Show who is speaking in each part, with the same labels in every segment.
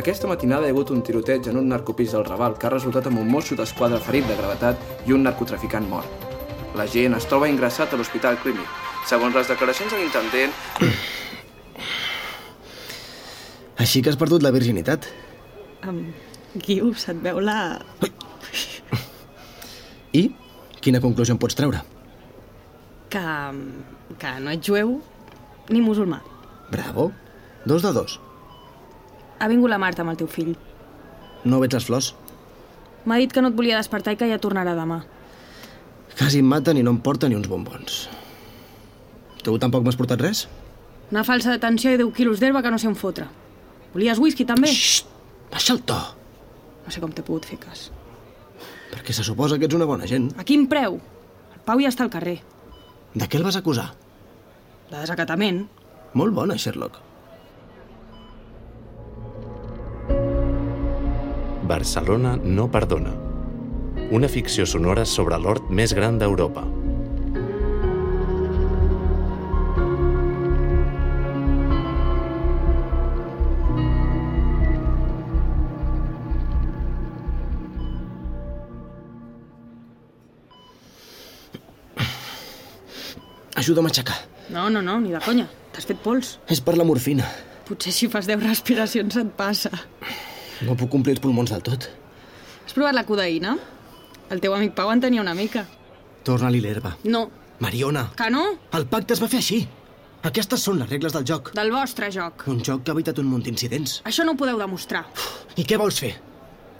Speaker 1: Aquesta matinada hi ha hagut un tiroteig en un narcopis del Raval que ha resultat amb un mosso d'esquadra ferit de gravetat i un narcotraficant mort. La gent es troba ingressat a l'Hospital Clínic. Segons les declaracions de l'intendent...
Speaker 2: Així que has perdut la virginitat.
Speaker 3: Um, Guiu, se't veu la...
Speaker 2: I quina conclusió en pots treure?
Speaker 3: Que, que no ets jueu ni musulmà.
Speaker 2: Bravo. Dos de dos.
Speaker 3: Ha vingut la Marta amb el teu fill.
Speaker 2: No veig les flors.
Speaker 3: M'ha dit que no et volia despertar i que ja tornarà demà.
Speaker 2: Quasi em maten i no em porten ni uns bombons. Tu tampoc m'has portat res?
Speaker 3: Una falsa detenció i 10 quilos d'herba que no sé on fotre. Volies whisky, també?
Speaker 2: Xxt! Baixa el to!
Speaker 3: No sé com t'he pogut fer cas.
Speaker 2: Perquè se suposa que ets una bona gent.
Speaker 3: A quin preu? El Pau ja està al carrer.
Speaker 2: De què el vas acusar?
Speaker 3: De desacatament.
Speaker 2: Molt bona, Sherlock.
Speaker 4: Barcelona no perdona. Una ficció sonora sobre l'hort més gran d'Europa.
Speaker 2: Ajuda'm a aixecar.
Speaker 3: No, no, no, ni de conya. T'has fet pols.
Speaker 2: És per la morfina.
Speaker 3: Potser si fas 10 respiracions et passa.
Speaker 2: No puc complir els pulmons del tot.
Speaker 3: Has provat la codeïna? El teu amic Pau en tenia una mica.
Speaker 2: Torna-li l'herba.
Speaker 3: No.
Speaker 2: Mariona,
Speaker 3: Que no?
Speaker 2: el pacte es va fer així. Aquestes són les regles del joc.
Speaker 3: Del vostre joc.
Speaker 2: Un joc que ha evitat un munt d'incidents.
Speaker 3: Això no ho podeu demostrar.
Speaker 2: I què vols fer?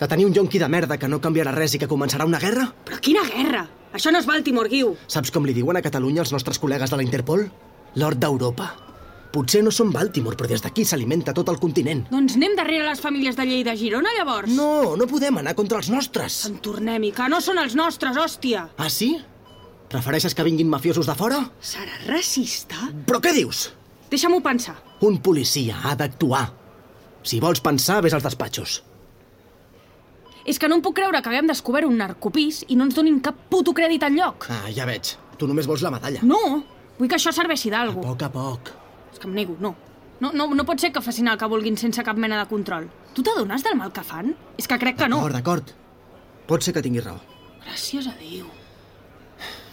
Speaker 2: De tenir un yonqui de merda que no canviarà res i que començarà una guerra?
Speaker 3: Però quina guerra! Això no és Baltimore, Guiu.
Speaker 2: Saps com li diuen a Catalunya els nostres col·legues de la Interpol? L'hort d'Europa. Potser no som Baltimore, però des d'aquí s'alimenta tot el continent.
Speaker 3: Doncs anem darrere les famílies de Lleida i Girona, llavors?
Speaker 2: No, no podem anar contra els nostres.
Speaker 3: En tornem i que no són els nostres, hòstia!
Speaker 2: Ah, sí? Prefereixes que vinguin mafiosos de fora?
Speaker 3: Serà racista?
Speaker 2: Però què dius?
Speaker 3: Deixa'm-ho pensar.
Speaker 2: Un policia ha d'actuar. Si vols pensar, vés als despatxos.
Speaker 3: És que no em puc creure que haguem descobert un narcopís i no ens donin cap puto crèdit al lloc.
Speaker 2: Ah, ja veig. Tu només vols la medalla.
Speaker 3: No! Vull que això serveixi d'algú.
Speaker 2: poc a poc.
Speaker 3: És que em nego, no. No, no, no pot ser que facin el que vulguin sense cap mena de control. Tu t'adones del mal que fan? És que crec que no.
Speaker 2: D'acord, d'acord. Pot ser que tinguis raó.
Speaker 3: Gràcies a Déu.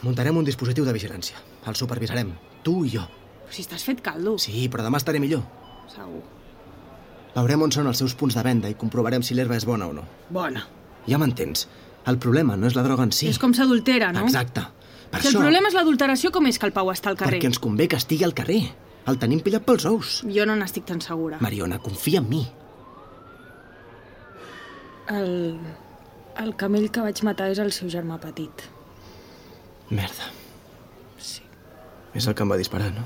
Speaker 2: Muntarem un dispositiu de vigilància. El supervisarem, tu i jo.
Speaker 3: Però si t'has fet caldo.
Speaker 2: Sí, però demà estaré millor.
Speaker 3: Segur.
Speaker 2: Veurem on són els seus punts de venda i comprovarem si l'herba és bona o no.
Speaker 3: Bona.
Speaker 2: Ja m'entens. El problema no és la droga en si.
Speaker 3: És com s'adultera, no?
Speaker 2: Exacte. Per
Speaker 3: Si el
Speaker 2: això...
Speaker 3: problema és l'adulteració, com és que el Pau està al carrer?
Speaker 2: Perquè ens convé que estigui al carrer. El tenim pillat pels ous.
Speaker 3: Jo no n'estic tan segura.
Speaker 2: Mariona, confia en mi.
Speaker 3: El... el camell que vaig matar és el seu germà petit.
Speaker 2: Merda.
Speaker 3: Sí,
Speaker 2: És el que em va disparar, no?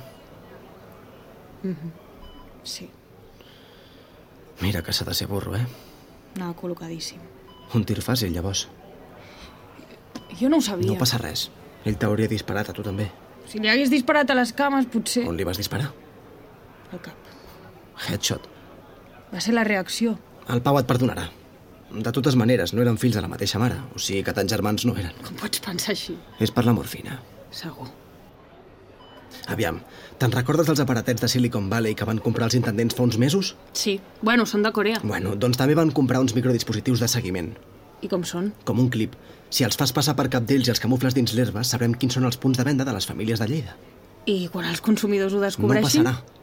Speaker 3: sí.
Speaker 2: Mira que s'ha de ser burro, eh?
Speaker 3: Anava col·locadíssim.
Speaker 2: Un tir fàcil, llavors.
Speaker 3: Jo no ho sabia.
Speaker 2: No passa res. Ell t'hauria disparat a tu també.
Speaker 3: Si li hagués disparat a les cames, potser...
Speaker 2: On li vas disparar?
Speaker 3: Al cap.
Speaker 2: Headshot.
Speaker 3: Va ser la reacció.
Speaker 2: El Pau et perdonarà. De totes maneres, no eren fills de la mateixa mare, o sigui que tants germans no eren.
Speaker 3: Com pots pensar així?
Speaker 2: És per la morfina.
Speaker 3: Segur.
Speaker 2: Aviam, te'n recordes dels aparatets de Silicon Valley que van comprar els intendents fa uns mesos?
Speaker 3: Sí. Bueno, són de Corea.
Speaker 2: Bueno, doncs també van comprar uns microdispositius de seguiment,
Speaker 3: I com són?
Speaker 2: com un clip. Si els fas passar per cap d'ells i els camufles dins l'herba, sabrem quins són els punts de venda de les famílies de Lleida.
Speaker 3: I quan els consumidors ho
Speaker 2: No
Speaker 3: descobreixin...
Speaker 2: passarà.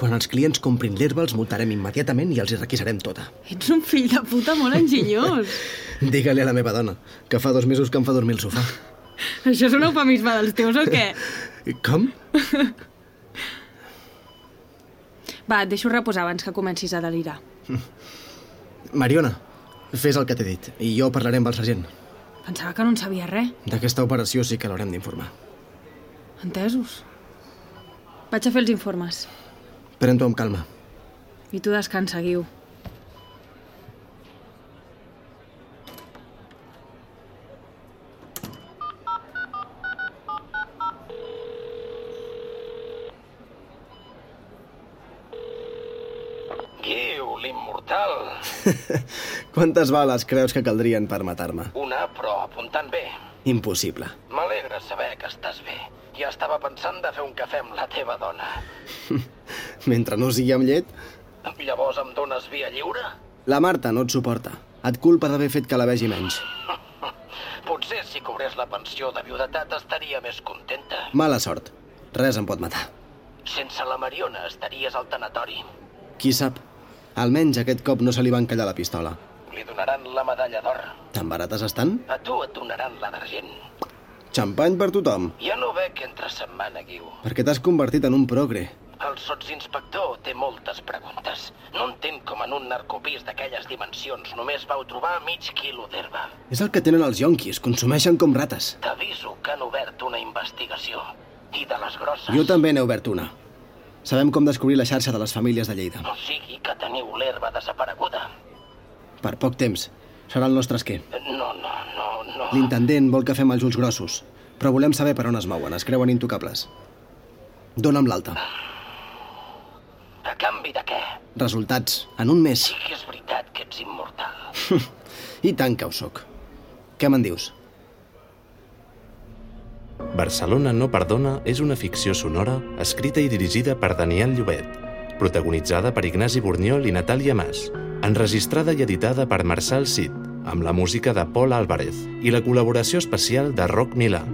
Speaker 2: Quan els clients comprin l'herba, els multarem immediatament i els hi requisarem tota.
Speaker 3: Ets un fill de puta molt enginyós.
Speaker 2: Digue-li a la meva dona, que fa dos mesos que em fa dormir al sofà.
Speaker 3: Això és un eufemisme dels teus o què?
Speaker 2: Com?
Speaker 3: Va, et deixo reposar abans que comencis a delirar.
Speaker 2: Mariona, fes el que t'he dit i jo parlaré amb el sergent.
Speaker 3: Pensava que no en sabia res.
Speaker 2: D'aquesta operació sí que l'haurem d'informar.
Speaker 3: Entesos. Vaig a fer els informes.
Speaker 2: Pren-t'ho amb calma.
Speaker 3: I tu descansa, Guiu.
Speaker 5: Guiu, l'immortal.
Speaker 2: Quantes bales creus que caldrien per matar-me?
Speaker 5: Una, però apuntant bé.
Speaker 2: Impossible.
Speaker 5: M'alegra saber que estàs bé. Ja estava pensant de fer un cafè amb la teva dona.
Speaker 2: Mentre no sigui amb llet,
Speaker 5: Llavors em dones via lliure?
Speaker 2: La Marta no et suporta. Et culpa d'haver fet que la vegi menys.
Speaker 5: Potser si cobrés la pensió de viudetat estaria més contenta.
Speaker 2: Mala sort. Res em pot matar.
Speaker 5: Sense la Mariona estaries al tanatori.
Speaker 2: Qui sap? Almenys aquest cop no se li va encallar la pistola.
Speaker 5: Li donaran la medalla d'or.
Speaker 2: Tan barates estan?
Speaker 5: A tu et donaran la d'argent.
Speaker 2: Xampany per tothom.
Speaker 5: Ja no veig entre setmana, Guiu.
Speaker 2: Per què t'has convertit en un progre?
Speaker 5: El sotsinspector té moltes preguntes. No entenc com en un narcopís d'aquelles dimensions només vau trobar mig quilo d'herba.
Speaker 2: És el que tenen els yonquis, consumeixen com rates.
Speaker 5: T'aviso que han obert una investigació. I de les grosses.
Speaker 2: Jo també n'he obert una. Sabem com descobrir la xarxa de les famílies de Lleida.
Speaker 5: O sigui que teniu l'herba desapareguda.
Speaker 2: Per poc temps. Serà el nostre esquer.
Speaker 5: No, no, no, no.
Speaker 2: L'intendent vol que fem els ulls grossos, però volem saber per on es mouen. Es creuen intocables. Dóna'm l'alta.
Speaker 5: A canvi de què?
Speaker 2: Resultats. En un mes.
Speaker 5: Sí que és veritat que ets immortal.
Speaker 2: I tant que ho sóc. Què me'n dius?
Speaker 4: Barcelona no perdona és una ficció sonora escrita i dirigida per Daniel Llobet, protagonitzada per Ignasi Borniol i Natàlia Mas, enregistrada i editada per Marçal Cid, amb la música de Paul Álvarez i la col·laboració especial de Roc Milà.